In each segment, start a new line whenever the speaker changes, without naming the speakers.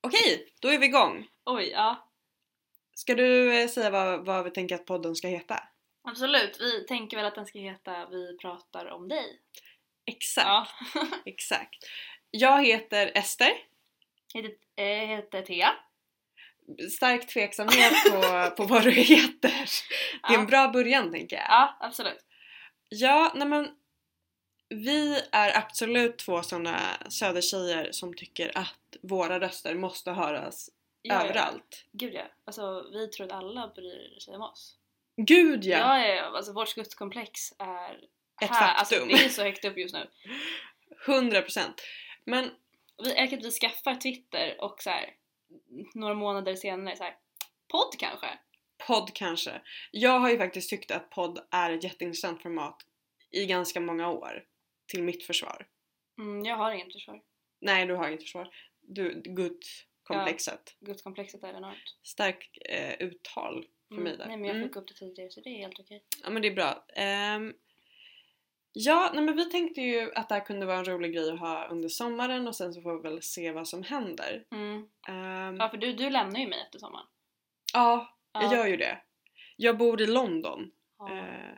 Okej, då är vi igång!
Oj, ja.
Ska du eh, säga vad, vad vi tänker att podden ska heta?
Absolut. Vi tänker väl att den ska heta Vi pratar om dig.
Exakt,
Ja.
exakt. Jag heter Ester.
Heter, eh, heter Thea.
Stark tveksamhet på, på vad du heter. Det är en
Ja.
bra början tänker jag.
Ja, absolut.
Ja, nej men vi är absolut två sådana södertjejer som tycker att våra röster måste höras
Ja, ja.
överallt.
Gud ja. Alltså, vi tror att alla bryr sig om oss.
Gud ja!
Ja, ja, ja. Alltså, vårt gudskomplex är
Ett
här.
faktum.
Alltså, det är så högt upp just nu.
100%. Men
Vi, jag tycker att vi skaffar Twitter och så här, några månader senare så här, podd kanske?
podd kanske. Jag har ju faktiskt tyckt att podd är ett jätteintressant format i ganska många år. Till mitt försvar.
Mm, jag har inget försvar.
Nej, du har inget försvar. Du, gudkomplexet.
Gudskomplexet är enormt.
Starkt eh, uttal för mig där.
Nej men jag
Mm.
fick upp det tidigare så det är helt okej.
Ja men det är bra. Ehm, ja, nej men vi tänkte ju att det här kunde vara en rolig grej att ha under sommaren och sen så får vi väl se vad som händer.
Mm.
Ehm,
Ja för du, du lämnar ju mig efter sommaren.
ja, jag
Ja.
gör ju det. Jag bor i London.
Ja.
eh,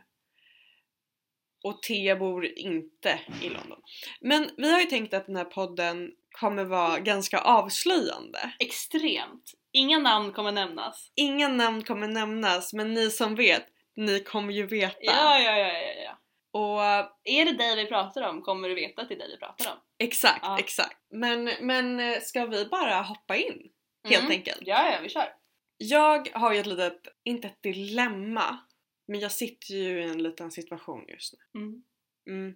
och Thea bor inte i London. Men vi har ju tänkt att den här podden kommer vara ganska avslöjande.
Extremt! Inga namn kommer nämnas.
Inga namn kommer nämnas men ni som vet, ni kommer ju veta.
Ja, ja, ja, ja, ja.
Och
Är det dig vi pratar om kommer du veta att det är dig vi pratar om.
Exakt,
Ja.
exakt. Men, men eh, ska vi bara hoppa in helt
Mm.
enkelt?
Ja, ja, vi kör.
Jag har ju ett litet, inte ett dilemma, men jag sitter ju i en liten situation just nu.
Mm.
Mm.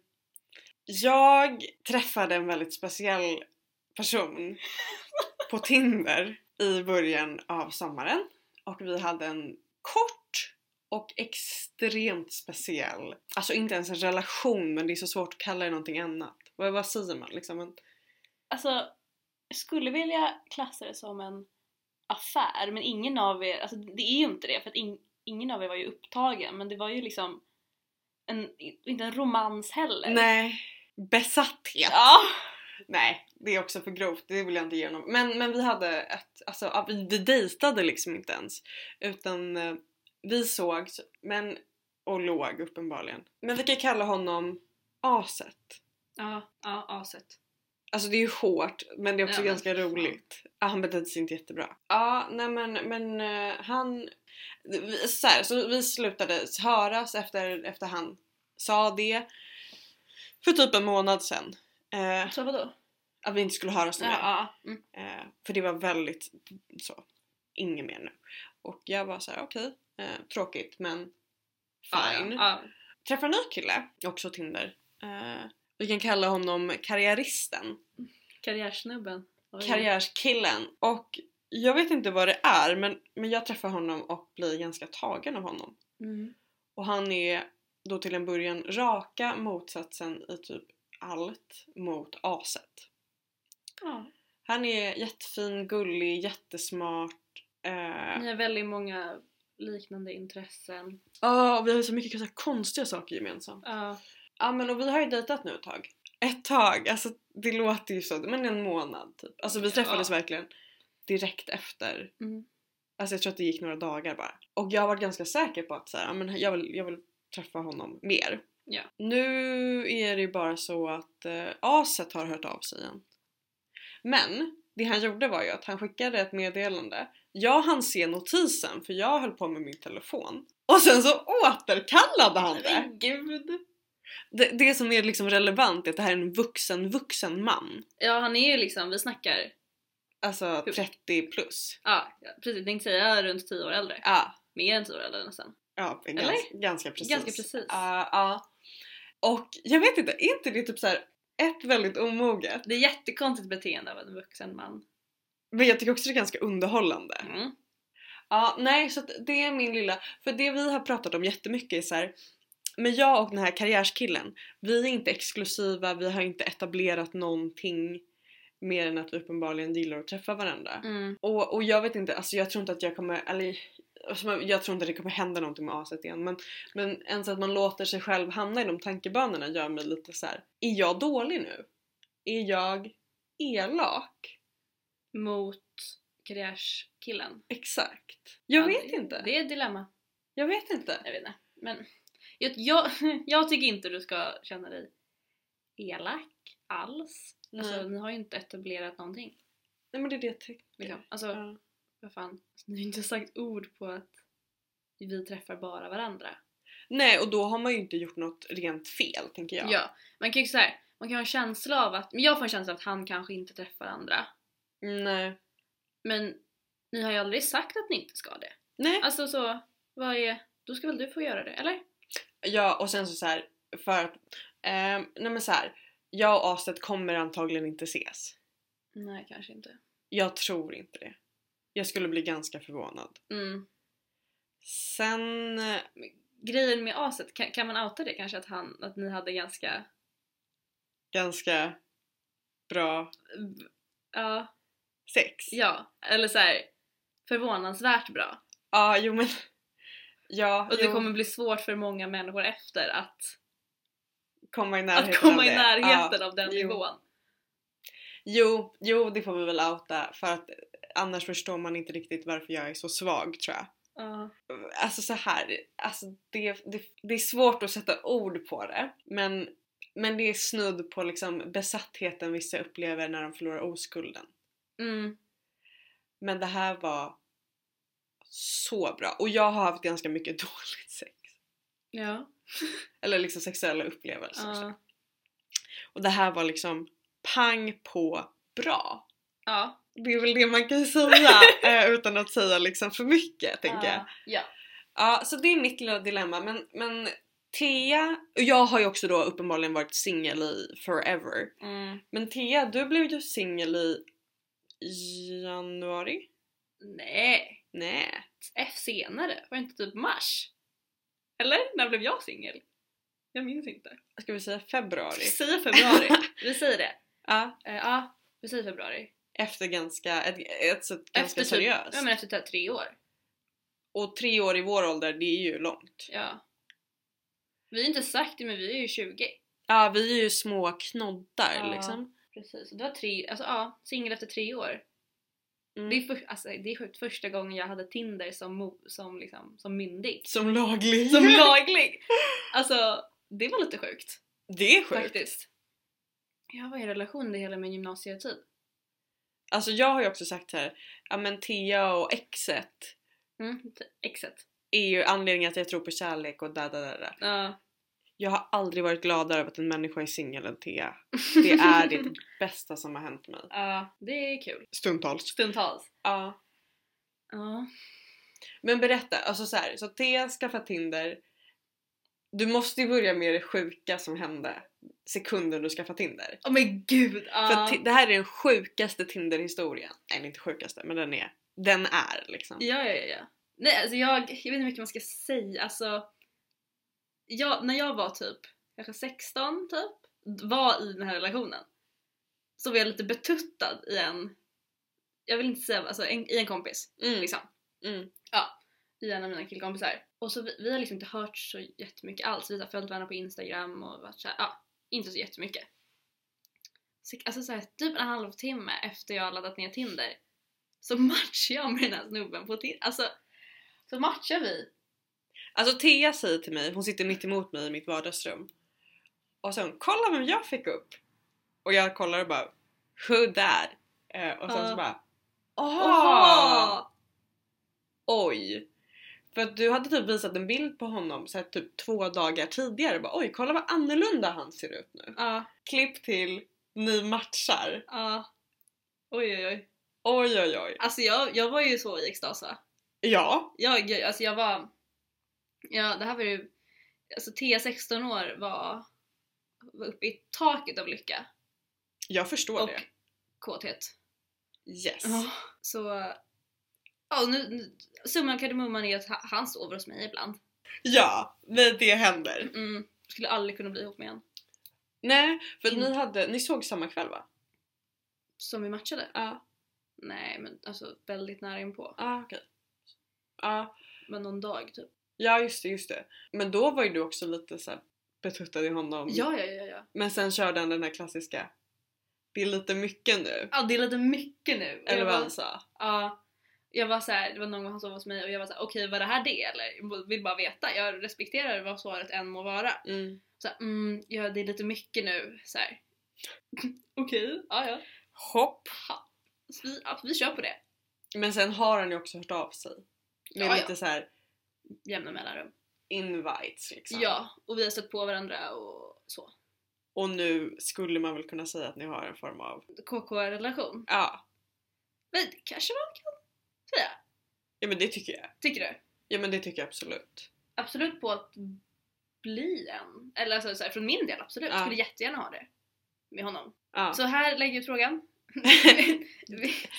Jag träffade en väldigt speciell person på Tinder i början av sommaren och vi hade en kort och extremt speciell, alltså inte ens en relation men det är så svårt att kalla det någonting annat. Vad, vad säger man liksom? En,
Alltså, jag skulle vilja klassa det som en affär, men ingen av er, alltså det är ju inte det för att in, ingen av er var ju upptagen, men det var ju liksom en, inte en romans heller.
Nej. Besatthet.
Ja.
Nej, det är också för grovt. Det vill jag inte ge honom. Men, men vi hade ett, alltså ja, vi vi dejtade liksom inte ens. Utan eh, vi såg men, och låg uppenbarligen. Men vi kan kalla honom aset.
Ja, ja, aset.
Alltså det är ju hårt men det är också
Ja, men
ganska
för fan.
roligt. Ja, han betedde sig inte jättebra. Ja, nej men, men eh, han... vi- Så, här, så vi slutade höras efter, efter han sa det. För typ en månad sen. Eh,
Så vadå?
att vi inte skulle höras nu.
Ja, ja. Mm.
Eh, för det var väldigt så, inget mer nu. Och jag var så här: okej, eh, tråkigt men fine.
Ja,
Träffade en ny kille, också Tinder. Eh, vi kan kalla honom karriäristen.
Karriärsnubben.
karriärskillen och jag vet inte vad det är men, men jag träffar honom och blir ganska tagen av honom.
Mm.
Och han är då till en början raka motsatsen i typ allt mot aset.
Ja.
Han är jättefin, gullig, jättesmart. Eh,
Ni har väldigt många liknande intressen.
ja, och vi har så mycket så här konstiga saker gemensamt.
Ja.
Ja men och vi har ju dejtat nu ett tag. Ett tag, alltså det låter ju så, men en månad typ. Alltså vi träffades
Ja.
verkligen direkt efter
Mm.
Alltså jag tror att det gick några dagar bara. Och jag har varit ganska säker på att så här, ja, men jag, vill, jag vill träffa honom mer.
Ja.
Nu är det ju bara så att eh, aset har hört av sig igen. Men det han gjorde var ju att han skickade ett meddelande. Jag hann se notisen för jag höll på med min telefon. Och sen så återkallade han det!
Men gud!
Det, det som är liksom relevant är att det här är en vuxen vuxen man.
Ja han är ju liksom, vi snackar,
Alltså 30 plus.
ja precis, tänkte säga runt 10 år äldre.
Ja,
Mer än 10 år äldre nästan.
Ja,
Eller?
gans, ganska precis.
Ganska precis.
Ja, ja. Och jag vet inte, är inte det typ så här ett väldigt omoget?
Det är jättekonstigt beteende av en vuxen man.
Men jag tycker också det är ganska underhållande.
Mm.
Ja, nej så att det är min lilla, för det vi har pratat om jättemycket är så här. Men jag och den här karriärskillen, vi är inte exklusiva, vi har inte etablerat någonting mer än att vi uppenbarligen gillar att träffa varandra.
Mm.
Och, och jag vet inte, alltså jag tror inte att jag kommer, eller alltså man- jag tror inte det kommer hända någonting med aset igen men, men ens att man låter sig själv hamna i de tankebanorna gör mig lite så här. är jag dålig nu? Är jag elak?
mot karriärskillen.
Exakt. Jag
Ja,
vet
det,
inte.
Det är ett dilemma.
Jag vet inte.
Jag vet inte. Men jag, jag, jag tycker inte du ska känna dig elak alls. Alltså,
Nej.
ni har ju inte etablerat någonting.
Nej men det är det jag tycker.
Liksom. Alltså,
Ja.
vad fan. Alltså, ni har ju inte sagt ord på att vi träffar bara varandra.
Nej och då har man ju inte gjort något rent fel tänker jag.
Man kan ju så här, man kan ha en känsla av att, men jag får en känsla av att han kanske inte träffar andra.
Mm, Nej.
Men ni har ju aldrig sagt att ni inte ska det.
Nej.
Alltså så, vad är, då ska väl du få göra det, eller?
Ja och sen så, så här, för att, ehm, nej men så här, jag och Aset kommer antagligen inte ses.
Nej, kanske inte.
Jag tror inte det. Jag skulle bli ganska förvånad.
Mm.
Sen, eh,
Grejen med aset, kan, kan man outa det kanske att, han, att ni hade ganska,
ganska bra
ja,
sex.
ja, eller så här förvånansvärt bra.
Ja, jo men. Ja,
Och
jo,
det kommer bli svårt för många människor efter att,
komma i närheten
att komma
av
i
det.
närheten
Ja.
av den
Jo.
nivån.
Jo, jo, det får vi väl outa för att eh, annars förstår man inte riktigt varför jag är så svag tror jag.
Ja.
Alltså så här, alltså det, det, det är svårt att sätta ord på det men, men det är snudd på liksom besattheten vissa upplever när de förlorar oskulden.
Mm.
Men det här var så bra och jag har haft ganska mycket dåligt sex.
Ja.
Eller liksom sexuella upplevelser. så.
Ja.
Och det här var liksom pang på bra.
Ja.
Det är väl det man kan säga eh, utan att säga liksom för mycket tänker jag.
Ja.
Ja, så det är mitt lilla dilemma. Men, men Thea, och jag har ju också då uppenbarligen varit singel i forever.
Mm.
Men Thea, du blev ju singel i januari?
Nej.
Nej.
F senare, var det inte typ mars? Eller? När blev jag singel? Jag minns inte.
Ska vi säga februari?
Vi säger februari. Vi säger det.
Ja,
Eh, Ja, vi säger februari.
efter ganska, ett, ett sätt ganska
Efter typ-
seriöst.
Ja men efter typ tre år.
Och tre år i vår ålder, det är ju långt.
Ja. Vi har inte sagt det men vi är ju 20.
Ja, vi är ju små knoddar
Ja.
liksom.
Precis, det var tre, alltså ja, singel efter tre år.
Mm.
Det, är för, alltså, det är sjukt, första gången jag hade Tinder som, mo- som, liksom, som myndig.
Som laglig.
Som laglig! Alltså, det var lite sjukt.
Det är sjukt.
Faktiskt. Jag var i relation under hela min gymnasietid.
Alltså jag har ju också sagt så här, ja men Thea och exet
Mm, t- exet.
är ju anledningen att jag tror på kärlek och da da da da.
Ja.
Jag har aldrig varit gladare över att en människa är singel än Thea. Det är det bästa som har hänt mig.
Ja, det är kul.
Stundtals.
Stundtals.
Ja.
Ja.
Men berätta, alltså så här, så Thea skaffar Tinder. Du måste ju börja med det sjuka som hände sekunden du skaffade Tinder.
Åh men gud! Ja.
För ti- det här är den sjukaste Tinder-historien. Nej, inte sjukaste, men den är. Den är liksom.
Ja, ja, ja, ja. Nej, alltså jag, jag vet inte hur mycket man ska säga. Alltså, jag, när jag var typ kanske 16 typ, var i den här relationen. Så var jag lite betuttad i en, jag vill inte säga, alltså en, i en kompis.
Mm.
Liksom.
Mm.
Ja, i en av mina killkompisar. Och så vi, vi har liksom inte hört så jättemycket alls. Vi har följt varandra på Instagram och varit såhär, ja, inte så jättemycket. Så, alltså såhär, typ en halvtimme efter jag har laddat ner Tinder så matchar jag med den här snubben på Tinder. Alltså, så matchar vi.
Alltså Thea säger till mig, hon sitter mitt emot mig i mitt vardagsrum. Och sen kolla vem jag fick upp! Och jag kollar och bara Who that? Eh, och sen
Ja.
så bara Ah! Aha!
Oha!
Oj! För att du hade typ visat en bild på honom så här, typ två dagar tidigare bara oj kolla vad annorlunda han ser ut nu.
Ja,
Klipp till ni matchar.
ja. Oj oj oj.
Oj oj oj.
Alltså jag, jag var ju så i extas va?
Ja.
jag, jag, alltså jag var, ja det här var ju, alltså Thea 16 år var, var uppe i taket av lycka
Jag förstår
och
det.
kåthet.
Yes.
Så, ja och nu, nu, summan kardemumman är att ha- han sover hos mig ibland.
Ja, men det händer.
Mm, skulle aldrig kunna bli ihop med honom.
Nej, för att
Mm.
ni, hade, ni såg samma kväll va?
Som vi matchade?
Ja.
Nej men alltså väldigt nära inpå.
Ja ah, okej. Ja.
Men någon dag typ.
Ja just det, just det. Men då var ju du också lite så här betuttad i honom.
Ja, ja, ja, ja.
Men sen körde han den här klassiska Det är lite mycket nu.
Ja det är lite mycket nu. Och
Eller
jag
vad
bara,
han sa.
ja, jag var så här, det var någon gång han sov hos mig och jag var så här, okej var det här det eller? Jag vill bara veta, jag respekterar vad svaret än må vara.
Mm.
Så här, mm, ja det är lite mycket nu så här. Okej, ja ja.
Hopp.
Så vi, ja, vi kör på det.
Men sen har han ju också hört av sig. Med
Ja, ja.
lite så här
Jämna mellanrum.
invites liksom.
Ja, och vi har stött på varandra och så.
Och nu skulle man väl kunna säga att ni har en form av...
KK-relation.
Ja,
Men det kanske man kan säga.
ja men det tycker jag.
Tycker du?
Ja men det tycker jag absolut.
absolut på att bli en. Eller alltså, så här, från min del absolut.
Ja.
Skulle jättegärna ha det med honom.
Ja.
Så här lägger vi frågan.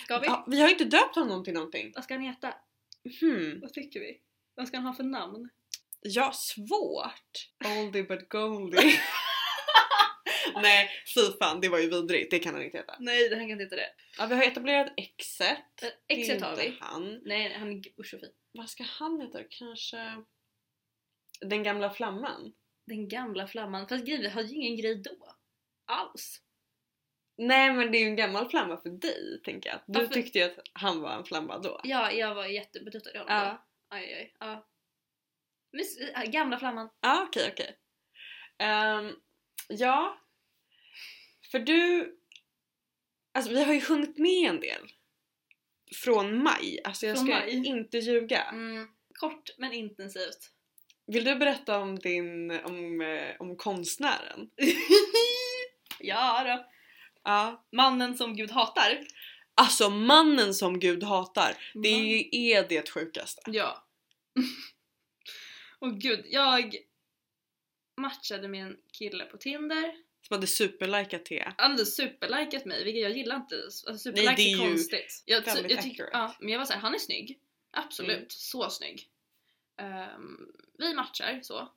ska vi?
Ja, vi har inte döpt honom till någonting.
Vad ska han heta?
Hmm.
Vad tycker vi? Vad ska han ha för namn?
Ja, svårt. Oldie but goldie. Nej, fy fan det var ju vidrigt. Det kan han inte heta.
Nej, han kan inte heta det.
Ja, vi har etablerat exet.
Eh,
Det är
Exet har
inte
vi.
han.
Nej, nej, han är usch så fin.
Vad ska han heta? Kanske... Den gamla flamman?
Den gamla flamman. Fast grejen, vi har ju ingen grej då. Alls.
Nej men det är ju en gammal flamma för dig tänker jag. Du
Varför?
tyckte ju att han var en flamma då.
Ja, jag var jättebetuttad i honom
Ja.
då. Aj, aj, ja. Men, s- äh, gamla flamman.
Ja, okej, okej. Ehm, ja. För du... Alltså vi har ju hunnit med en del. Från maj. Alltså jag
Från
ska
maj.
inte ljuga.
Mm. Kort men intensivt.
Vill du berätta om din... Om, eh, om konstnären?
ja då.
Ja.
Mannen som Gud hatar.
Alltså mannen som gud hatar. Det
Mm.
är, ju- är det sjukaste.
Ja. Och gud, jag matchade med en kille på Tinder.
Som hade superlikat te.
Han hade superlikat mig, vilket jag gillar inte. Alltså, superlike
Nej, det är
är
ju
konstigt. Jag,
väldigt
jag tyck-
accurate.
ja, men jag var såhär, han är snygg. Absolut,
Mm.
så snygg. Ehm, vi matchar så.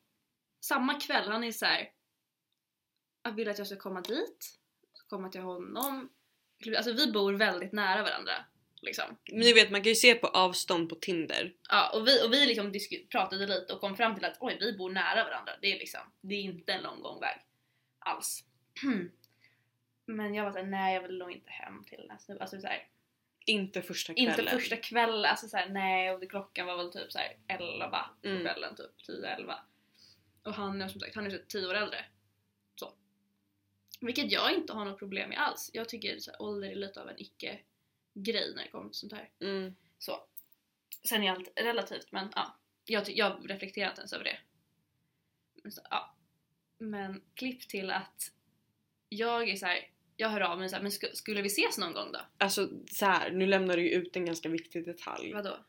Samma kväll, han är så här. Han vill att jag ska komma dit, komma till honom. Alltså vi bor väldigt nära varandra. Liksom.
Men ni vet man kan ju se på avstånd på Tinder.
Ja, och vi, och vi liksom disku- pratade lite och kom fram till att oj, vi bor nära varandra. Det är, liksom, det är inte en lång gångväg alls. Men jag var såhär, nej jag vill nog inte hem till den här snubben. Alltså, så här,
Inte första kvällen.
inte första kvällen, alltså såhär, nej och det- klockan var väl typ såhär 11 på
Mm.
kvällen, typ 10-11. Och han är som sagt, han är typ 10 år äldre. Så. Vilket jag inte har något problem med alls. Jag tycker så här, ålder är lite av en icke-grej när det kommer till sånt här.
Mm.
Så. Sen är allt relativt men ja. Jag, ty- jag reflekterar inte ens över det. Men Så, ja. Men klipp till att jag är så här, jag hör av mig så här, men sk- skulle vi ses någon gång då?
Alltså så här, nu lämnar du ju ut en ganska viktig detalj.
Vadå?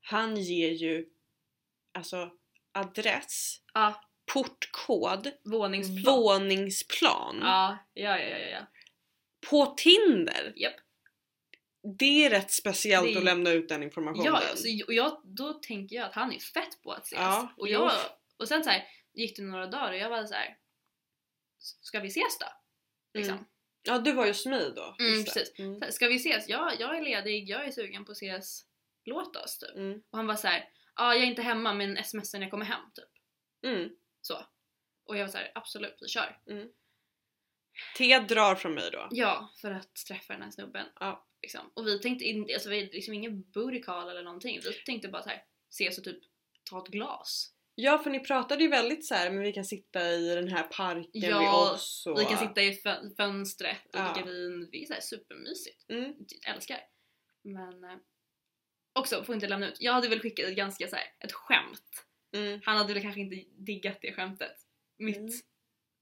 Han ger ju alltså adress,
Ja,
portkod,
våningsplan.
våningsplan
Ja, ja, ja, ja, ja, ja.
på Tinder.
Japp.
Det är rätt speciellt
Det är-
att lämna ut den informationen.
Ja, alltså- ja, så, j- och jag, då tänker jag att han är fett på att ses.
Ja,
och, jag,
jo.
och sen så här, gick det några dagar och jag var så här. Ska vi ses då? Liksom.
Mm. ja du var ju smidig då.
Mm,
just det.
precis.
Mm.
Så här, Ska vi ses? Ja, jag är ledig, jag är sugen på att ses. Låt oss typ.
Mm.
Och han var så här, ja jag är inte hemma men smsar när jag kommer hem typ.
Mm.
Så. Och jag var så här, absolut vi kör.
T drar från mig då.
Ja, för att träffa den här snubben.
Ja.
Liksom. Och vi tänkte inte, alltså vi liksom ingen booty call eller någonting. Vi tänkte bara så här, ses och typ ta ett glas.
Ja för ni pratade ju väldigt så här, men vi kan sitta i den här parken
Ja,
vid oss. Och...
Vi kan sitta i fön- fönstret och
Ja.
dricka vin. Det är så här supermysigt.
Mm.
Älskar. Men eh, också, får inte lämna ut. Jag hade väl skickat ett ganska så här, ett skämt.
Mm.
Han hade väl kanske inte diggat det skämtet. Mitt.
Mm.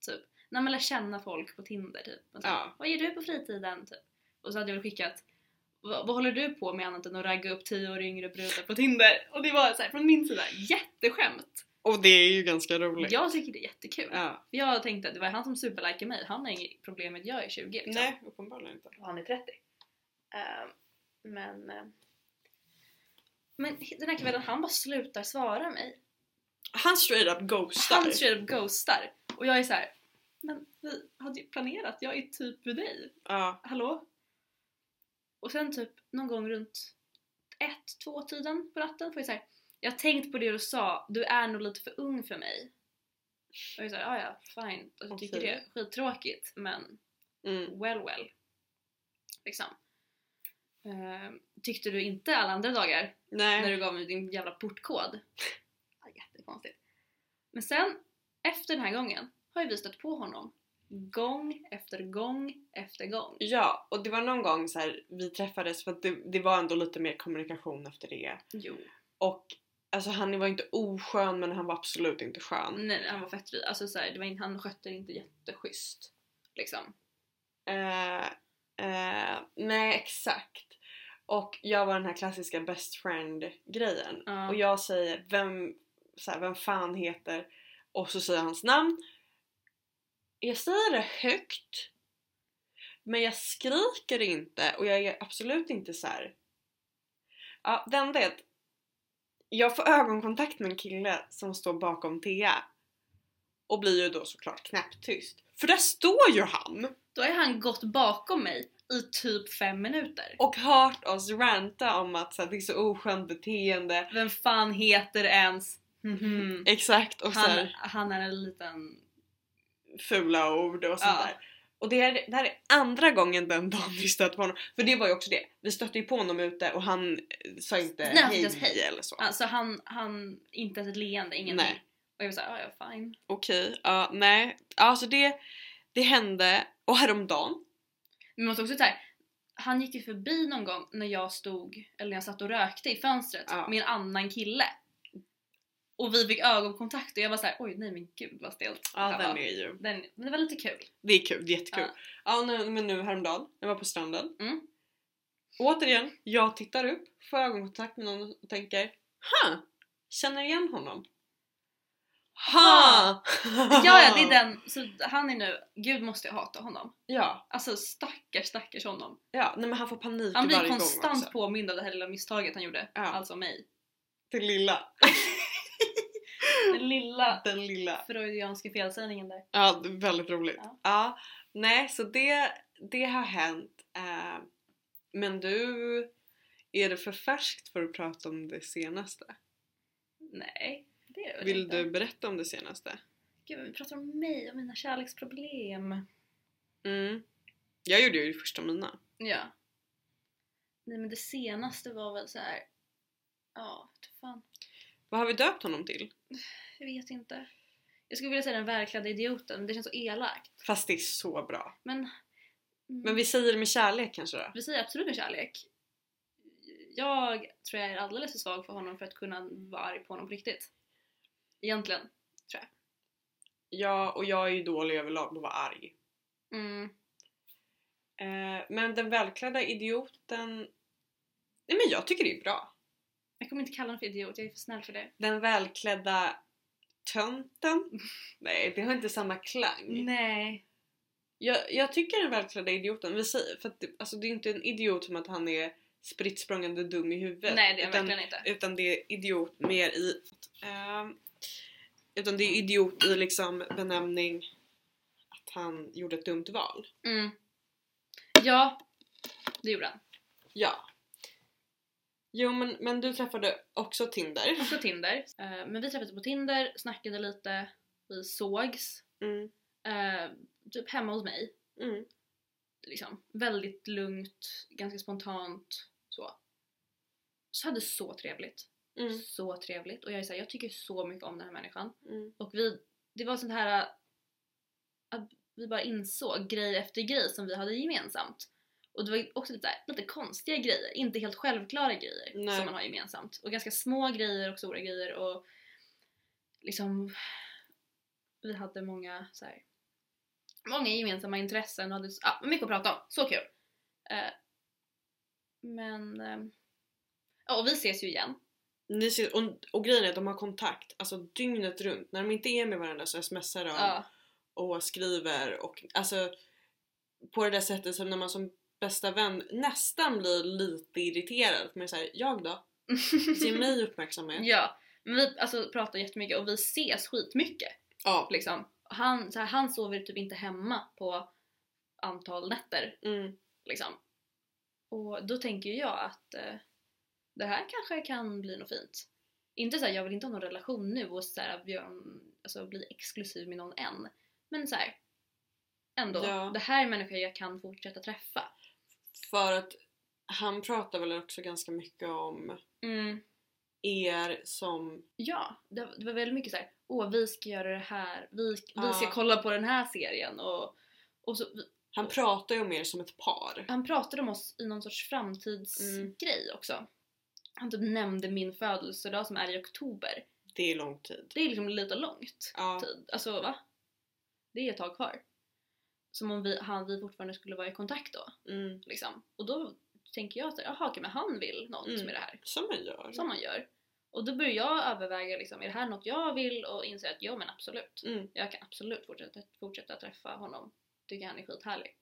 Typ. När man lär känna folk på Tinder typ. Och så,
Ja.
Vad gör du på fritiden? Typ. Och så hade jag väl skickat vad, vad håller du på med annat än att ragga upp 10 år yngre brudar på Tinder? Och det var så här, från min sida jätteskämt.
Och det är ju ganska roligt.
Jag tycker det är jättekul.
Ja.
För Jag tänkte att det var han som superlikade mig. Han har inget problem med att jag är 20 liksom.
Nej uppenbarligen inte.
Och han är 30. Ehm, men... eh, men den här kvällen, han bara slutar svara mig.
Han straight up ghostar.
Han straight up ghostar. Och jag är så här. men vi hade ju planerat, jag är typ vid dig.
Ja.
Hallå? Och sen typ någon gång runt ett, två tiden på natten får jag säga Jag har tänkt på det du sa, du är nog lite för ung för mig. Och jag säger ja ja, fine. Alltså, Jag tycker
Okej.
det är skittråkigt men
Mm.
well well. Liksom. Eh, tyckte du inte alla andra dagar när
Nej.
du gav mig din jävla portkod? Ja, Jättekonstigt. Men sen, efter den här gången, har ju vi stött på honom. Gång efter gång efter gång.
Ja, och det var någon gång så här, vi träffades för att det, det var ändå lite mer kommunikation efter det.
Jo.
Och alltså han var inte oskön men han var absolut inte skön.
Nej, han var fett vid. Alltså, så här, det var in, han skötte det inte jätteschysst. Liksom.
Eh, eh, nej exakt. Och jag var den här klassiska best friend grejen.
Ja.
Och jag säger vem, så här, vem fan heter och så säger jag hans namn. Jag säger det högt. Men jag skriker inte och jag är absolut inte så här. Ja, det enda är att jag får ögonkontakt med en kille som står bakom Thea. Och blir ju då såklart knäpptyst. För där står ju han!
Då har han gått bakom mig i typ fem minuter.
och hört oss ranta om att så här, det är så oskönt beteende.
Vem fan heter ens... Mhm.
Exakt och så
Han,
här,
han är en liten...
fula ord och sånt
Ja.
där. Och det, är, det här är andra gången den dagen vi stötte på honom. För det var ju också det, vi stötte ju på honom ute och han eh, sa inte
Nej, han sa
hej,
inte ens hej.
eller så.
Alltså han, han inte ens ett leende, ingenting.
Nej.
Och jag var såhär, ja ja fine.
Okej, ja nej. Alltså det, det hände och häromdagen.
Men man måste också såhär, han gick ju förbi någon gång när jag stod, eller när jag satt och rökte i fönstret
Ja.
med en annan kille. Och vi fick ögonkontakt och jag var såhär, oj nej men gud vad stelt. det
Ja
här
den
var.
är ju,
den, men det var lite kul.
det är kul, det är jättekul.
Ja.
Ja, nu, men nu häromdagen, jag var på stranden.
Mm.
Återigen, jag tittar upp, får ögonkontakt med någon och tänker Ha! Känner igen honom. Ha!
Ja, ja det är den, så han är nu, gud måste jag hata honom.
Ja,
Alltså stackars stackars honom.
ja. Nej, men han får panik
Han blir
varje gång
konstant
också.
påmind av det här lilla misstaget han gjorde.
Ja.
Alltså mig.
Den lilla.
Den lilla
Den lilla.
freudianska felsägningen där.
Ja, det är väldigt roligt. Ja.
Ja.
nej, så det, det har hänt. Eh, men du, är det för färskt för att prata om det senaste?
Nej, det är det väl
Vill
inte.
du berätta om det senaste?
Gud, vi pratar om mig och mina kärleksproblem.
Mm. Jag gjorde ju det första mina.
Ja. Nej men det senaste var väl så här. Ja, vet fan.
Vad har vi döpt honom till?
Jag vet inte. Jag skulle vilja säga den välklädda idioten, men det känns så elakt.
Fast det är så bra.
Men...
Men vi säger det med kärlek kanske då?
Vi säger absolut med kärlek. Jag tror jag är alldeles för svag för honom för att kunna vara arg på honom på riktigt. Egentligen.
Ja, och jag är ju dålig överlag på att vara arg.
Mm.
Eh, men den välklädda idioten... Nej men jag tycker det är bra.
Jag kommer inte kalla honom för idiot, jag är för snäll för det.
Den välklädda tönten? Nej, det har inte samma
Mm.
klang.
Nej.
Jag, jag tycker den välklädda idioten, vi säger, för att det, alltså, det är inte en idiot som att han är spritt språngande dum i huvudet.
Nej, det är jag
utan,
verkligen inte.
utan det är idiot mer i... ehm, utan det är idiot i liksom benämning att han gjorde ett dumt val.
Mm. Ja, det gjorde han.
Ja. Jo men, men du träffade också Tinder.
Också Tinder. Eh, Men vi träffades på Tinder, snackade lite, vi sågs.
Mm.
eh, Typ hemma hos mig.
Mm.
Liksom. Väldigt lugnt, ganska spontant. Så. Så hade så trevligt.
Mm.
Så trevligt. Och jag är såhär, jag tycker så mycket om den här människan.
Mm.
Och vi, det var sånt här äh, att vi bara insåg grej efter grej som vi hade gemensamt. Och det var också lite, så här, lite konstiga grejer, inte helt självklara grejer
Nej.
som man har gemensamt. Och ganska små grejer och stora grejer och liksom vi hade många så här, många gemensamma intressen och hade ja, mycket att prata om. Så kul! Eh, men eh, ja, och vi ses ju igen.
Ni ser, och, och grejen är att de har kontakt alltså dygnet runt. När de inte är med varandra så smsar de
Ja.
och skriver och alltså på det där sättet som när man som bästa vän nästan blir lite irriterad. Men såhär, jag då? Ge mig uppmärksamhet.
Ja, men vi alltså, pratar jättemycket och vi ses skitmycket.
Ja.
Liksom. Han, så här, han sover typ inte hemma på antal nätter.
Mm.
Liksom. Och då tänker ju jag att eh, det här kanske kan bli något fint. Inte såhär, jag vill inte ha någon relation nu och så här, bli, alltså, bli exklusiv med någon än. Men såhär, ändå.
Ja.
Det här är människor jag kan fortsätta träffa.
För att han pratar väl också ganska mycket om
Mm.
er som...
Ja, det, det var väldigt mycket så här. åh vi ska göra det här, vi, vi
Ja.
ska kolla på den här serien och, och så,
Han pratar ju om er som ett par.
han pratade om oss i någon sorts framtidsgrej
Mm.
också. Han typ nämnde min födelsedag som är i oktober.
Det är lång tid.
Det är liksom lite långt.
Ja.
tid. Alltså va? Det är ett tag kvar. Som om vi, han, vi fortfarande skulle vara i kontakt då.
Mm.
Liksom. Och då tänker jag att jaha, okej, men han vill något
Mm.
med det här.
Som man gör.
Som man gör. Och då börjar jag överväga, liksom, är det här något jag vill? Och inser att ja men absolut.
Mm.
Jag kan absolut fortsätta, fortsätta träffa honom. Tycker han är skithärlig.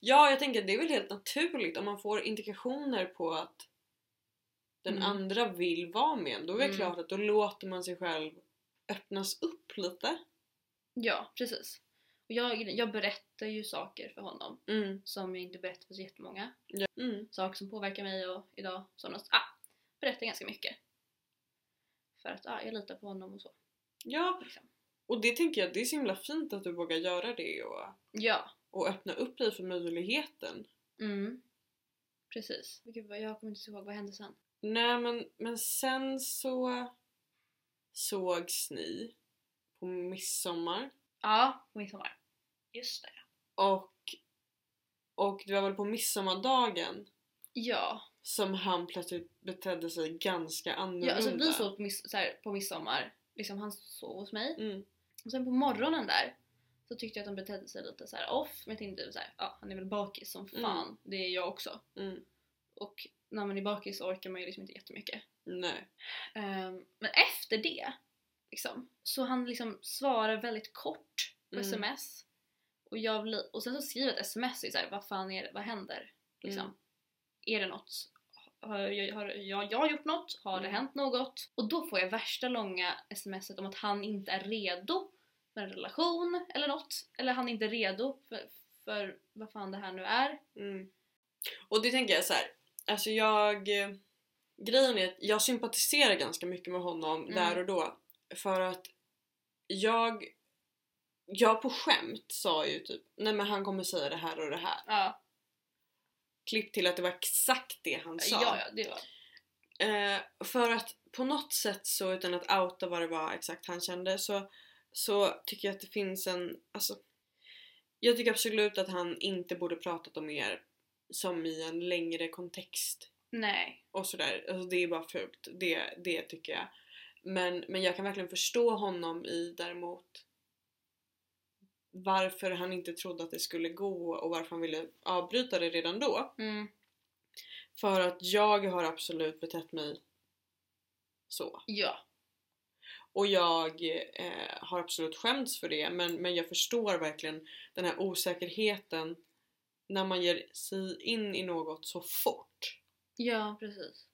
Ja, jag tänker att det är väl helt naturligt om man får indikationer på att den
Mm.
andra vill vara med en. Då är det
Mm.
klart att då låter man sig själv öppnas upp lite.
Ja, precis. Och jag, jag berättar ju saker för honom
Mm.
som jag inte berättar för så jättemånga.
Ja. Mm.
saker som påverkar mig och idag sådana ah, berättar ganska mycket. För att ah, jag litar på honom och så.
ja,
Liksom.
och det tänker jag det är så himla fint att du vågar göra det och,
Ja.
och öppna upp dig för möjligheten.
Mm. Precis. Men Gud, vad- jag kommer inte ihåg vad hände sen.
Nej men, men sen så sågs ni på midsommar
Ja, på midsommar. Just det.
och, och det var väl på midsommardagen
Ja.
som han plötsligt betedde sig ganska annorlunda.
ja alltså, vi sov på, miss- så här, på midsommar. Liksom, han sov hos mig.
Mm.
Och sen på morgonen där så tyckte jag att han betedde sig lite så här off. Men jag tänkte så här, ja han är väl bakis som fan. Det är jag också.
Mm.
Och när man är bakis så orkar man ju liksom inte jättemycket.
Nej.
Ehm, men efter det, liksom, så han liksom svarar väldigt kort på
Mm.
sms. Och, jag blir, och sen så skriver jag ett sms och är så här, vad fan är det, vad händer? Liksom.
Mm.
Är det något? Har jag, har jag, jag gjort något? Har det
Mm.
hänt något? Och då får jag värsta långa smset om att han inte är redo för en relation eller något. Eller han är inte redo för, för vad fan det här nu är.
Mm. Och det tänker jag så här. alltså jag... Grejen är att jag sympatiserar ganska mycket med honom
Mm.
där och då för att jag... Jag på skämt sa ju typ nej men han kommer säga det här och det här.
Ja,
Klipp till att det var exakt det han sa.
ja, ja det var...
Eh, för att på något sätt så utan att outa vad det var exakt han kände så, så tycker jag att det finns en, alltså jag tycker absolut att han inte borde pratat om er som i en längre kontext
Nej.
och sådär. Alltså det är bara fult, det, det tycker jag. Men, men jag kan verkligen förstå honom i däremot varför han inte trodde att det skulle gå och varför han ville avbryta det redan då.
Mm.
För att jag har absolut betett mig så.
Ja.
Och jag eh, har absolut skämts för det men, men jag förstår verkligen den här osäkerheten när man ger sig in i något så fort.
Ja, precis.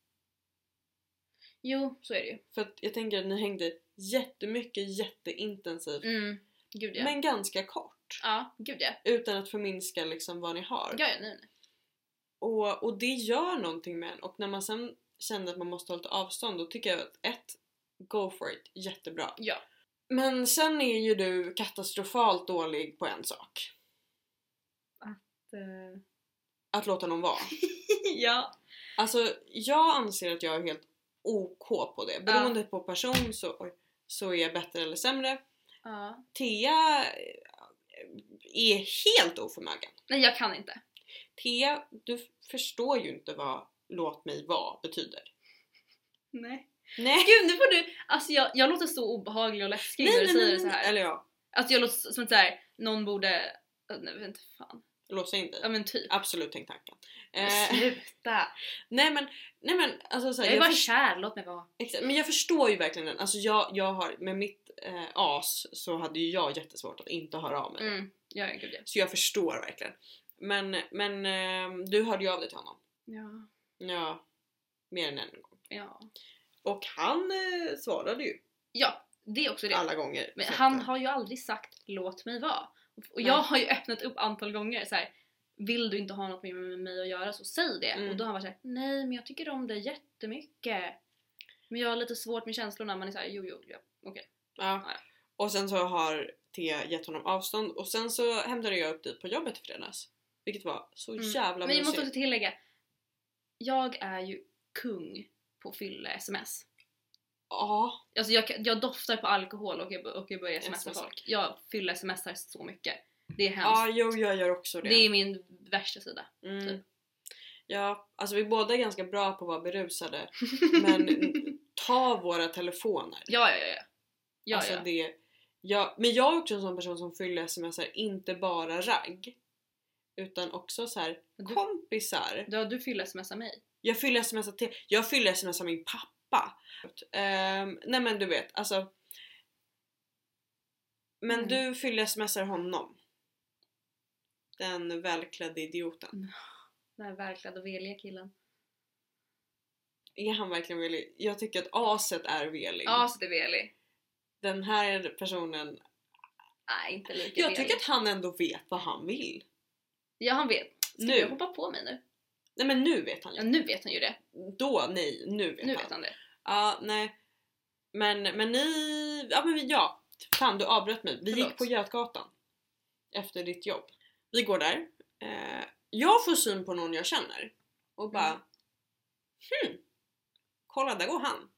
Jo, så är det ju.
För att jag tänker att ni hängde jättemycket jätteintensivt
Mm. Gud ja.
men ganska kort.
Ja, gud ja.
Utan att förminska liksom vad ni har.
Ja, ja, nej, nej.
Och, och det gör någonting med en och när man sen känner att man måste ha lite avstånd då tycker jag att ett, go for it, jättebra.
Ja.
Men sen är ju du katastrofalt dålig på en sak. Att låta någon vara.
ja.
Alltså jag anser att jag är helt OK på det. Beroende på person så, oj, så är jag bättre eller sämre.
ja.
Thea eh, är helt oförmögen.
Nej, jag kan inte.
Thea, du förstår ju inte vad låt mig vara betyder.
Nej.
Nej,
Gud, nu får du... Alltså jag, jag låter så obehaglig och läskig när du säger det så här.
Eller ja,
Alltså jag låter som att så här, någon borde... Äh, Nej, vet inte fan.
låsa in dig.
Ja men typ.
Absolut tänk tanken.
Men
Eh,
Sluta!
nej men, nej men alltså så här,
Jag är bara
förs-
kär, låt mig vara.
Exakt, men jag förstår ju verkligen den. Alltså jag, jag har, med mitt eh, as så hade ju jag jättesvårt att inte höra av mig.
Mm. Ja, ja, gud ja.
Så jag förstår verkligen. Men, men ehm, du hörde ju av dig till honom.
Ja.
Ja, mer än en gång.
Ja.
Och han eh, svarade ju
Ja, det är också det.
alla gånger.
Men
Så att,
han
eh,
har ju aldrig sagt låt mig vara. Och
Nej.
jag har ju öppnat upp antal gånger så här. Vill du inte ha något mer med mig att göra så säg det.
Mm.
Och då har han varit såhär, nej men jag tycker om dig jättemycket. Men jag har lite svårt med känslorna. Man är såhär, jo jo, ja, okej.
Ja. Och sen så har Thea gett honom avstånd och sen så hämtade jag upp dig på jobbet i fredags. Vilket var så
Mm.
jävla
Men jag måste
mysigt.
också tillägga. Jag är ju kung på fylla-sms.
Ja,
Alltså jag, kan- jag doftar på alkohol och jag, och jag börjar smsa
smsar.
folk. Jag fyller smsar så mycket. Det är hemskt.
ja, jo jag gör också det.
det är min värsta sida.
mm.
typ.
Ja, alltså vi båda är ganska bra på att vara berusade men ta våra telefoner.
ja, ja, ja, ja. Ja,
alltså
ja.
Det, ja. Men jag är också en sån person som fyller smsar inte bara ragg. Utan också så här
Du-
kompisar.
Du, du fyller smsar mig.
Jag fyller smsar till, jag fyller smsar min pappa. Ehm, nej men du vet alltså. Men
Mm.
du fyller smsar honom. Den välklädde idioten.
Den här välklädda och veliga killen.
Är han verkligen velig? Jag tycker att aset är velig.
Ja, så det är velig.
Den här personen.
Nej, inte lika
Jag
velig.
tycker att han ändå vet vad han vill.
Ja, han vet. Ska
Nu.
du hoppa på mig nu?
Nej men nu vet han
Ja,
ju.
nu vet han ju det.
Då nej, nu vet
Nu
han.
vet han det.
Ja, nej. Men, men ni... Ja, men vi, ja. Fan, du avbröt mig. Vi
Förlåt.
gick på Götgatan. Efter ditt jobb. Vi går där. Eh, jag får syn på någon jag känner. Och bara...
Mm.
Hmm. Kolla, där går han.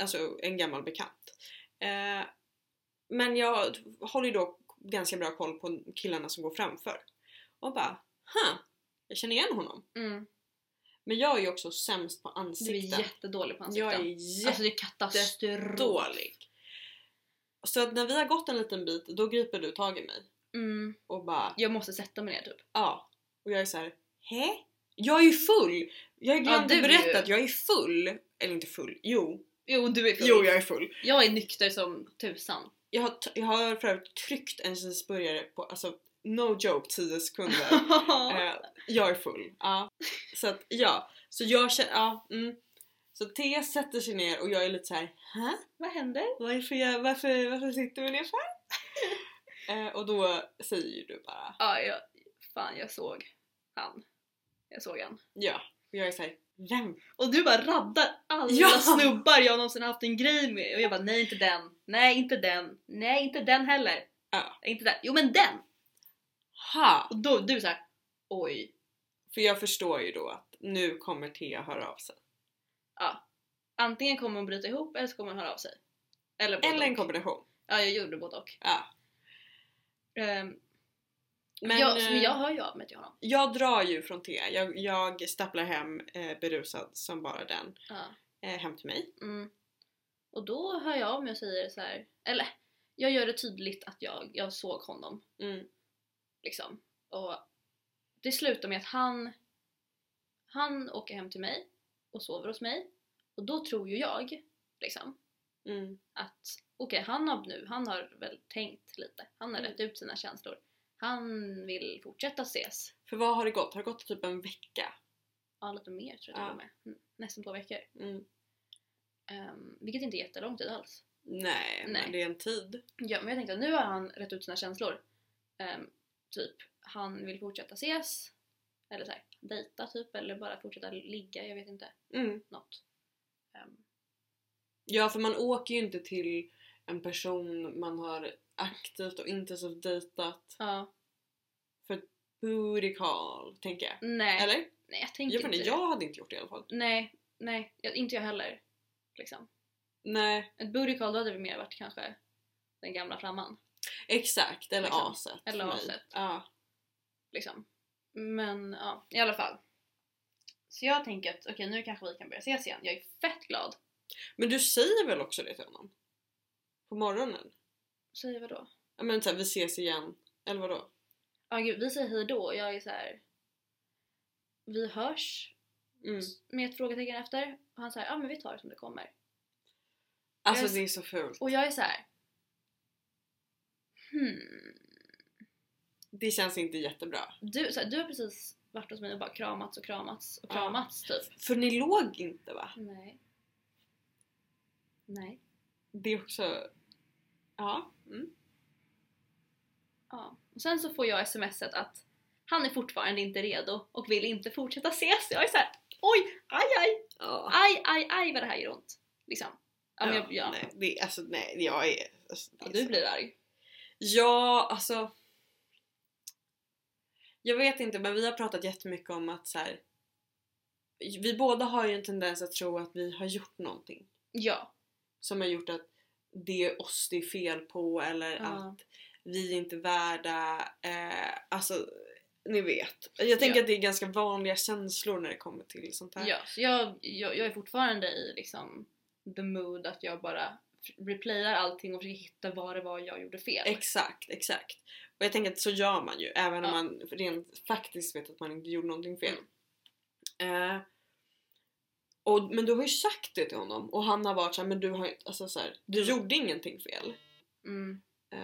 Alltså en gammal bekant. Eh, men jag håller ju då ganska bra koll på killarna som går framför. Och bara... Huh. Jag känner igen honom.
Mm.
Men jag är ju också sämst på
Du är
ansikten.
jättedålig på ansikten.
jag är
Alltså det är katastrof.
dålig. Så att när vi har gått en liten bit, då griper du tag i mig
Mm.
och bara
Jag måste sätta mig ner typ.
ja. Och jag är så här, hä? Jag är ju full! Jag glömde
du är
berätta
ju-
att jag är full. Eller inte full, jo.
Jo, du är full.
Jo, jag är full.
Jag är nykter som tusan.
Jag har, t- jag har för övrigt tryckt en cheeseburgare på, alltså no joke, 10 sekunder. eh, jag är full. Ja. Så att ja, så jag känner, ja. Mm. Så Thea sätter sig ner och jag är lite så här, hä?
Vad händer?
Varför, jag, varför, varför sitter vi ner så här? eh, och då säger ju du bara
Ja, jag, fan jag såg han. Jag såg han.
ja. Och jag är såhär, vem?
Och du bara raddar alla
Ja!
snubbar jag någonsin haft en grej med. Och jag bara nej inte den, nej inte den, nej inte den heller.
Ja.
Inte den, jo men den!
Ha!
Och då du såhär oj.
För jag förstår ju då att nu kommer Thea höra av sig.
Ja. Antingen kommer hon bryta ihop eller så kommer hon höra av sig. Eller både
Eller en
och.
kombination.
Ja jag gjorde både och.
Ja.
Ehm,
Men
jag,
eh,
men jag hör ju av mig till honom.
jag drar ju från Thea. Jag, jag stapplar hem eh, berusad som bara den.
Ja.
Eh, hem till mig.
Mm. Och då hör jag av mig och säger så här. eller jag gör det tydligt att jag, jag såg honom.
Mm.
Liksom. Och det slutar med att han, han åker hem till mig och sover hos mig. Och då tror ju jag liksom,
Mm.
att okej, han har nu, han har väl tänkt lite. Han har
Mm.
rätt ut sina känslor. Han vill fortsätta ses.
För vad har det gått? Har det gått typ en vecka?
Ja, lite mer tror jag
Ja.
till och med. Mm, Nästan två veckor.
Mm.
Ehm, vilket inte är jättelång tid alls.
Nej,
Nej.
men det är en tid.
Ja, men jag tänkte att nu har han rätt ut sina känslor. Ehm, typ, han vill fortsätta ses. Eller såhär, dejta typ. Eller bara fortsätta ligga, jag vet inte.
Mm.
Något. Ehm,
Ja, för man åker ju inte till en person man har aktivt och intensivt dejtat
Ja.
booty call, tänker jag.
Nej.
Eller?
nej, jag tänker
Jag, vet
inte
inte,
det.
jag hade inte gjort det i alla fall.
Nej, nej. Jag, inte jag heller. Liksom.
Nej,
Ett booty call, då hade det mer varit kanske den gamla flamman.
exakt. Eller
Liksom.
aset.
Eller
för mig.
aset.
Ja.
Liksom. Men ja, i alla fall. Så jag tänker att okej, nu kanske vi kan börja ses igen. Jag är fett glad.
Men du säger väl också det till honom? På morgonen?
Säger vadå?
Ja men såhär, vi ses igen. Eller vadå?
Ja gud, vi säger hej då och jag är så här. Vi hörs
Mm.
med ett frågetecken efter och han säger ja men vi tar det som det kommer.
Alltså
Jag är-
det är så fult.
Och jag är så här. Hmm.
Det känns inte jättebra.
Du, så här, du har precis varit hos mig och bara kramats och kramats och
Ja.
kramats typ.
För ni låg inte va?
Nej. Nej.
Det är också... Ja. Mm.
Ja. Och sen så får jag smset att han är fortfarande inte redo och vill inte fortsätta ses. Jag är så här. oj, aj aj,
Ja.
aj aj aj vad det här gör ont. Liksom. Ja, men jag, ja.
Nej, det, är- alltså nej, jag är... Alltså, det
Ja,
är
du
så-
blir arg.
Ja, alltså... Jag vet inte men vi har pratat jättemycket om att så här, vi båda har ju en tendens att tro att vi har gjort någonting
Ja.
som har gjort att det är oss det är fel på eller
Ja.
att vi är inte värda, eh, alltså ni vet. Jag tänker
Ja.
att det är ganska vanliga känslor när det kommer till sånt här.
ja så jag, jag, jag är fortfarande i liksom the mood att jag bara f- replayar allting och försöker hitta vad det var jag gjorde fel.
Exakt, exakt. Och jag tänker att så gör man ju även om
Ja.
man rent faktiskt vet att man inte gjorde någonting fel. Eh, och, men du har ju sagt det till honom och han har varit såhär, men du har ju- alltså så här, du gjorde ingenting fel.
mm.
Eh,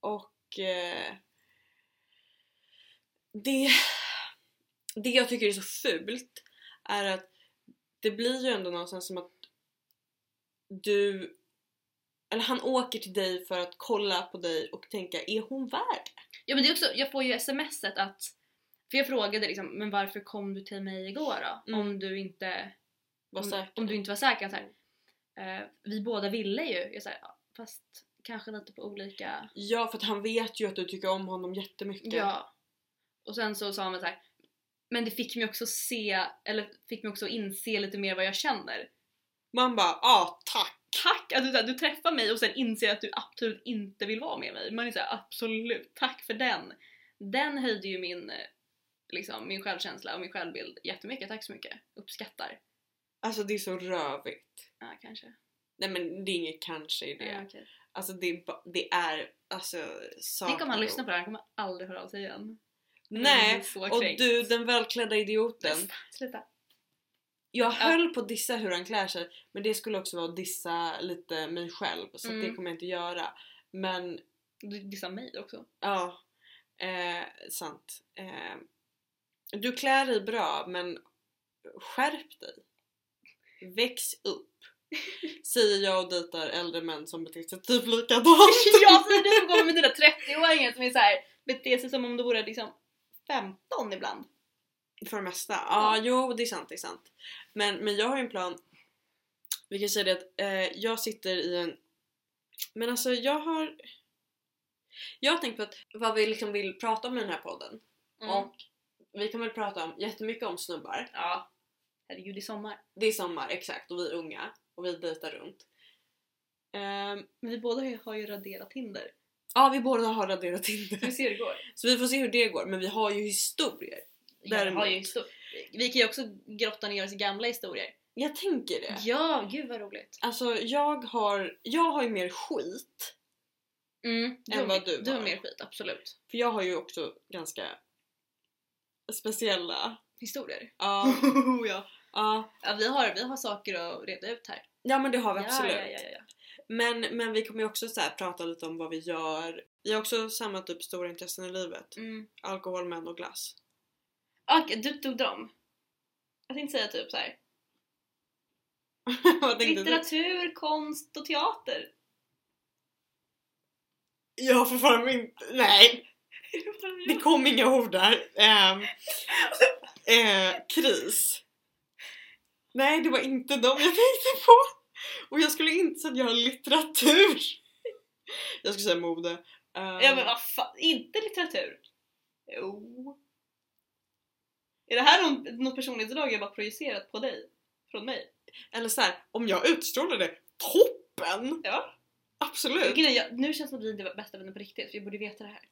och eh, det, det jag tycker är så fult är att det blir ju ändå någonstans som att du eller han åker till dig för att kolla på dig och tänka är hon värd?
Ja men det är också, jag får ju smset att för jag frågade liksom, men varför kom du till mig igår då?
Mm.
Om du inte
Var
om,
säker.
Mm,
Mm.
om du inte var säker. Så här, eh, vi båda ville ju. Jag så här, ja, fast kanske lite på olika...
Ja för att han vet ju att du tycker om honom jättemycket.
Ja. Och sen så sa man så här. Men det fick mig också se, eller fick mig också inse lite mer vad jag känner.
Man bara ah tack!
Tack att du, så här, du träffar mig och sen inser att du absolut inte vill vara med mig. Man är såhär absolut, tack för den. Den höjde ju min, eh, liksom, min självkänsla och min självbild jättemycket. Tack så mycket. Uppskattar.
Alltså det är så rövigt.
Ja kanske. Eh,
Nej men det är inget kanske i det.
Ja, okej.
Alltså det, är ba- det är alltså
Tänk om han lyssnar på det här, han kommer aldrig höra av sig igen.
Nej!
Det är så
Och
kränkt.
du den välklädda idioten.
Men Sluta.
Jag höll på att dissa hur han klär sig men det skulle också vara att dissa lite mig själv så att det
Mm.
kommer jag inte göra. Men
Du dissar mig också.
ja, eh, sant. Eh, du klär dig bra men skärp dig. Väx upp. Säger jag och dejtar äldre män som beter sig typ likadant.
jag säger du som kommer med dina 30-åringar som är så här, beter sig som om du vore liksom 15 ibland.
För det mesta. Ja, jo det är sant, det är sant. Men, men jag har ju en plan. Vi kan säga det att eh, jag sitter i en... Men alltså jag har... Jag har tänkt på att vad vi liksom vill prata om i den här podden.
Mm.
Och vi kan väl prata om jättemycket om snubbar.
Ja. Herregud, det är sommar.
Det är sommar, exakt. Och vi är unga. Och vi dejtar runt. Ehm,
Men vi båda har ju- har ju raderat Tinder.
ja, vi båda har raderat Tinder.
ser det går?
Så vi får se hur det går. Men vi har ju historier.
Jag har ju
Däremot.
histor- vi kan ju också grotta ner oss i gamla historier.
Jag tänker det.
Ja, gud vad roligt.
Alltså jag har, jag har ju mer skit.
Mm, du,
Än
har
vad
mer,
du
du har
har.
mer skit, absolut.
För jag har ju också ganska speciella...
Historier.
Ja,
ja.
ja.
ja vi, har, vi har saker att reda ut här.
ja men det har vi absolut.
Ja, ja, ja, ja, ja.
Men, men vi kommer ju också så här prata lite om vad vi gör. Vi har också samma typ stora intressen i livet.
Mm. Ah,
Alkohol, män och glass.
Okej, du tog dem. Jag tänkte säga typ så här.
Vad tänkte typ- du?
Litteratur, konst och teater.
Jag har fortfarande inte... Nej! Det kom inga ord där. Ehm, eh, kris. Nej, det var inte dem jag tänkte på. Och jag skulle inte säga att jag har litteratur. Jag skulle säga mode. Ehm,
ja men vad fan, inte litteratur? Jo. Är det här någon, något personlighetsdrag jag bara projicerat på dig? Från mig?
Eller så här, om jag utstrålar det, toppen!
Ja.
Absolut!
Grejen är, jag, nu känns det som att vi inte är bästa vänner på riktigt, för jag borde veta det här.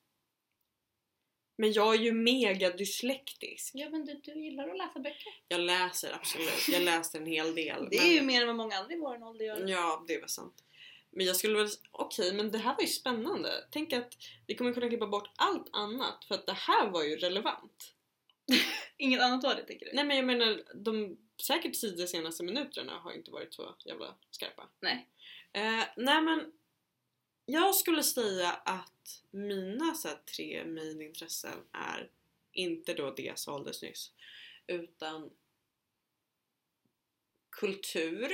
Men jag är ju mega dyslektisk.
Ja men du, du gillar att läsa böcker.
Jag läser absolut, jag läser en hel del.
Det
men-
är ju mer än vad många andra i vår ålder gör.
Ja, det var sant. Men jag skulle väl... Okej, men det här var ju spännande. Tänk att vi kommer kunna klippa bort allt annat för att det här var ju relevant.
Inget annat var det tycker du?
Nej men jag menar, de säkert tio senaste minuterna har inte varit så jävla skarpa.
Nej.
Eh, nej men, jag skulle säga att mina så här, tre main intressen är inte då det som såldes nyss. Utan kultur,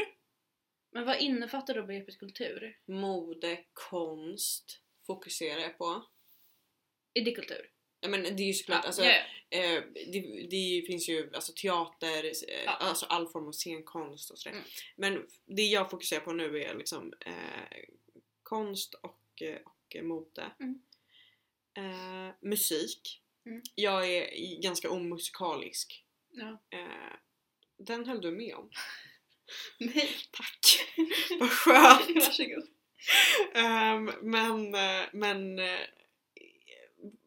Men vad innefattar då begreppet kultur?
mode, konst fokuserar jag på.
Är det kultur?
Ja men det är ju såklart, alltså,
ja, ja.
Eh, det, det finns ju alltså, teater, eh,
Ja.
alltså all form av scenkonst och sådär.
Mm.
Men det jag fokuserar på nu är liksom eh, konst och, eh, och eh, mode.
Mm.
Eh, musik.
Mm.
Jag är i- ganska omusikalisk.
Ja.
Eh, den höll du med om.
Nej.
Tack! Vad skönt!
Varsågod.
Ehm, men eh, men eh,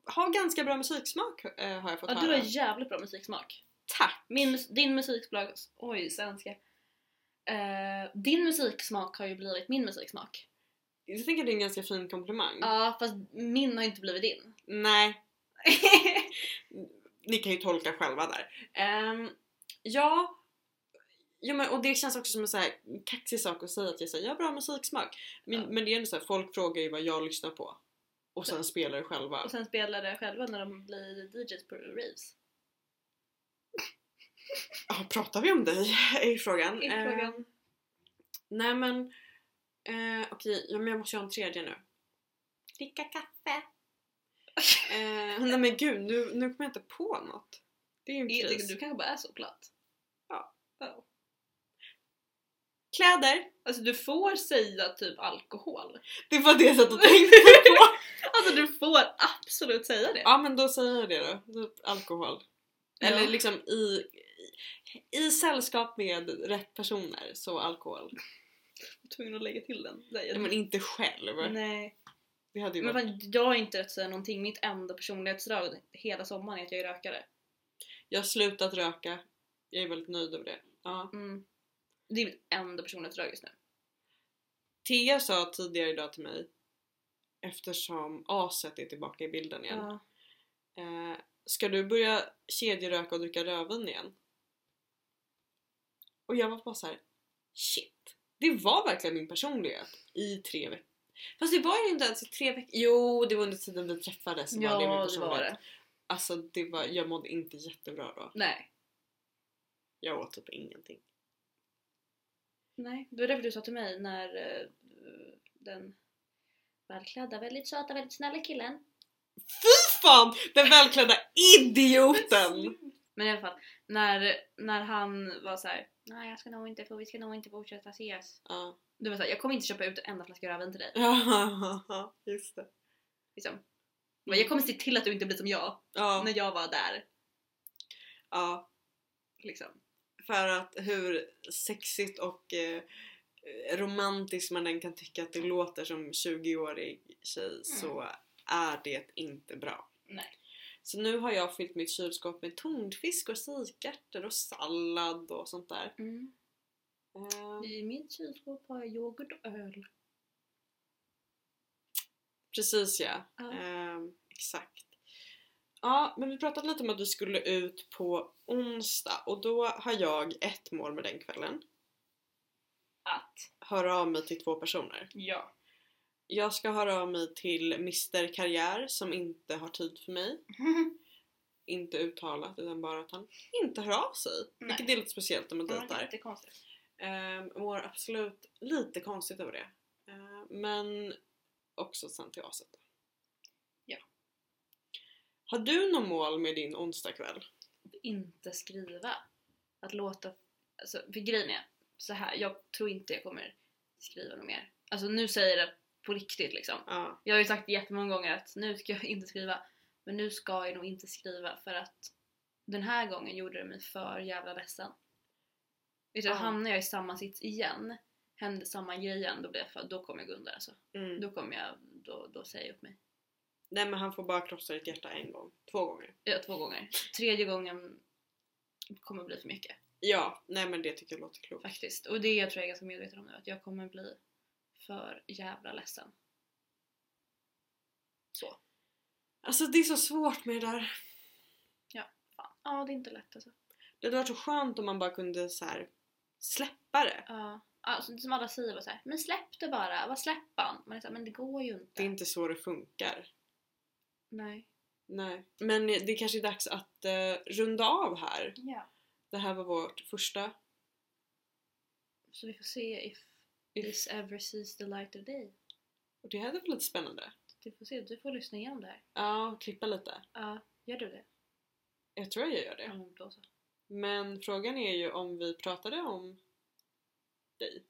har ganska bra musiksmak eh, har jag fått
Ja, du
höra.
har jävligt bra musiksmak.
Tack!
Min, mus- din musiksmak... Oj, svenska. Eh, din musiksmak har ju blivit min musiksmak.
Jag tänker att det är en ganska fin komplimang.
Ja, fast min har inte blivit din.
Nej, ni kan ju tolka själva där. Ehm, ja, jo, men, och det känns också som en så här kaxig sak att säga att jag, säger, jag har bra musiksmak. Men,
Ja.
men det är ändå så här, folk frågar ju vad jag lyssnar på. Och sen spelar det själva.
Och sen spelade jag själva när de blir DJs på raves.
Ja, pratar vi om dig? Är frågan.
Är frågan.
Ehm, nej men eh, okej, ja, men jag måste ju ha en tredje nu. Dricka kaffe. Eh, nej men gud, nu, nu kommer jag inte på något. Det är ju en
Du,
kris.
du kanske bara är så platt.
Ja.
Ja.
Kläder!
Alltså du får säga typ alkohol.
Det var det jag satt och tänkte på.
Alltså du får absolut säga det.
ja men då säger jag det då. Typ Alkohol. Eller
Ja.
liksom i, i sällskap med rätt personer, så alkohol.
Jag var tvungen att lägga till den. Där.
Nej, men inte själv.
Nej.
Det hade ju
Men
varit...
fan, jag har inte rätt att säga någonting. Mitt enda personlighetsdrag hela sommaren är att jag är rökare.
Jag har slutat röka. Jag är väldigt nöjd över det. Ja.
Mm. Det är mitt enda personlighetsdrag just nu.
Thea sa tidigare idag till mig, eftersom aset är tillbaka i bilden igen. Eh, ska du börja kedjeröka och dricka rödvin igen? Och jag var bara så här: shit. Det var verkligen min personlighet i tre veckor. Fast det var ju inte ens i tre veckor. Jo, det var under tiden vi träffades. som
Ja,
var det, min
det
personlighet.
var det.
Alltså, det var, jag mådde inte jättebra då.
Nej.
Jag åt typ ingenting.
Nej. Det var därför du sa till mig när eh, den välklädda, väldigt söta, väldigt snälla killen
Fan! Den välklädda idioten!
Men i alla fall, när, när han var så här. Nej jag ska nog inte, vi ska nog inte fortsätta ses.
Ja.
Du var såhär, jag kommer inte köpa ut en enda flaska rödvin till dig.
Ja, just det.
Liksom. Men jag kommer se till att du inte blir som jag,
Ja,
när jag var där.
ja,
Liksom.
för att hur sexigt och eh, romantiskt man än kan tycka att det låter som 20-årig tjej så är det inte bra.
Mm. Nej.
Så nu har jag fyllt mitt kylskåp med tonfisk och sikärtor och sallad och sånt där. Eh,
Mm. I mitt kylskåp har jag yoghurt och öl.
Precis ja.
Ja.
Ehm, exakt. Ja, men vi pratade lite om att vi skulle ut på onsdag och då har jag ett mål med den kvällen.
Att?
Höra av mig till två personer.
Ja.
Jag ska höra av mig till Mr Karriär som inte har tid för mig. Inte uttalat utan bara att han inte hör av sig.
Nej.
Vilket är lite speciellt när man dejtar.
konstigt.
Ehm, mår absolut lite konstigt över det. Ehm, men också sen till aset.
Ja.
Har du något mål med din onsdagkväll?
Inte skriva. Att låta... Alltså, för grejen är så här. jag tror inte jag kommer skriva något mer. Alltså nu säger jag det på riktigt liksom.
Ja.
Jag har ju sagt det jättemånga gånger att nu ska jag inte skriva. Men nu ska jag nog inte skriva för att den här gången gjorde det mig för jävla ledsen. Vet du,
Ja.
hamnar jag i samma sits igen, händer samma grej igen, då, blir jag för, då kommer jag gå under alltså.
Mm.
Då kommer jag, då, då säger jag upp mig.
Nej men han får bara krossa ditt hjärta en gång. Två gånger.
Ja, två gånger. Tredje gången kommer bli för mycket
Ja, nej men det tycker jag låter klokt.
faktiskt. Och det tror jag är ganska medveten om nu, att jag kommer bli för jävla ledsen. Så.
Alltså det är så svårt med det där.
Fan. Ja, det är inte lätt alltså.
Det hade varit så skönt om man bara kunde så här släppa det.
Ja, alltså, som alla säger bara så här, men släpp det bara, vad släpp han? Man är så här, men det går ju inte.
Det är inte så det funkar.
Nej.
Nej. Men det är kanske är dags att eh, runda av här.
Ja.
Det här var vårt första
Så vi får se if,
If-
this ever sees the light of day.
och det här är väl lite spännande.
Du får se, du får lyssna igenom det här.
Ja, och klippa lite.
Ja, gör du det?
Jag tror jag gör det.
Ja, men då så.
Men frågan är ju om vi pratade om dig.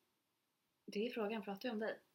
Det är frågan, pratar vi om dig?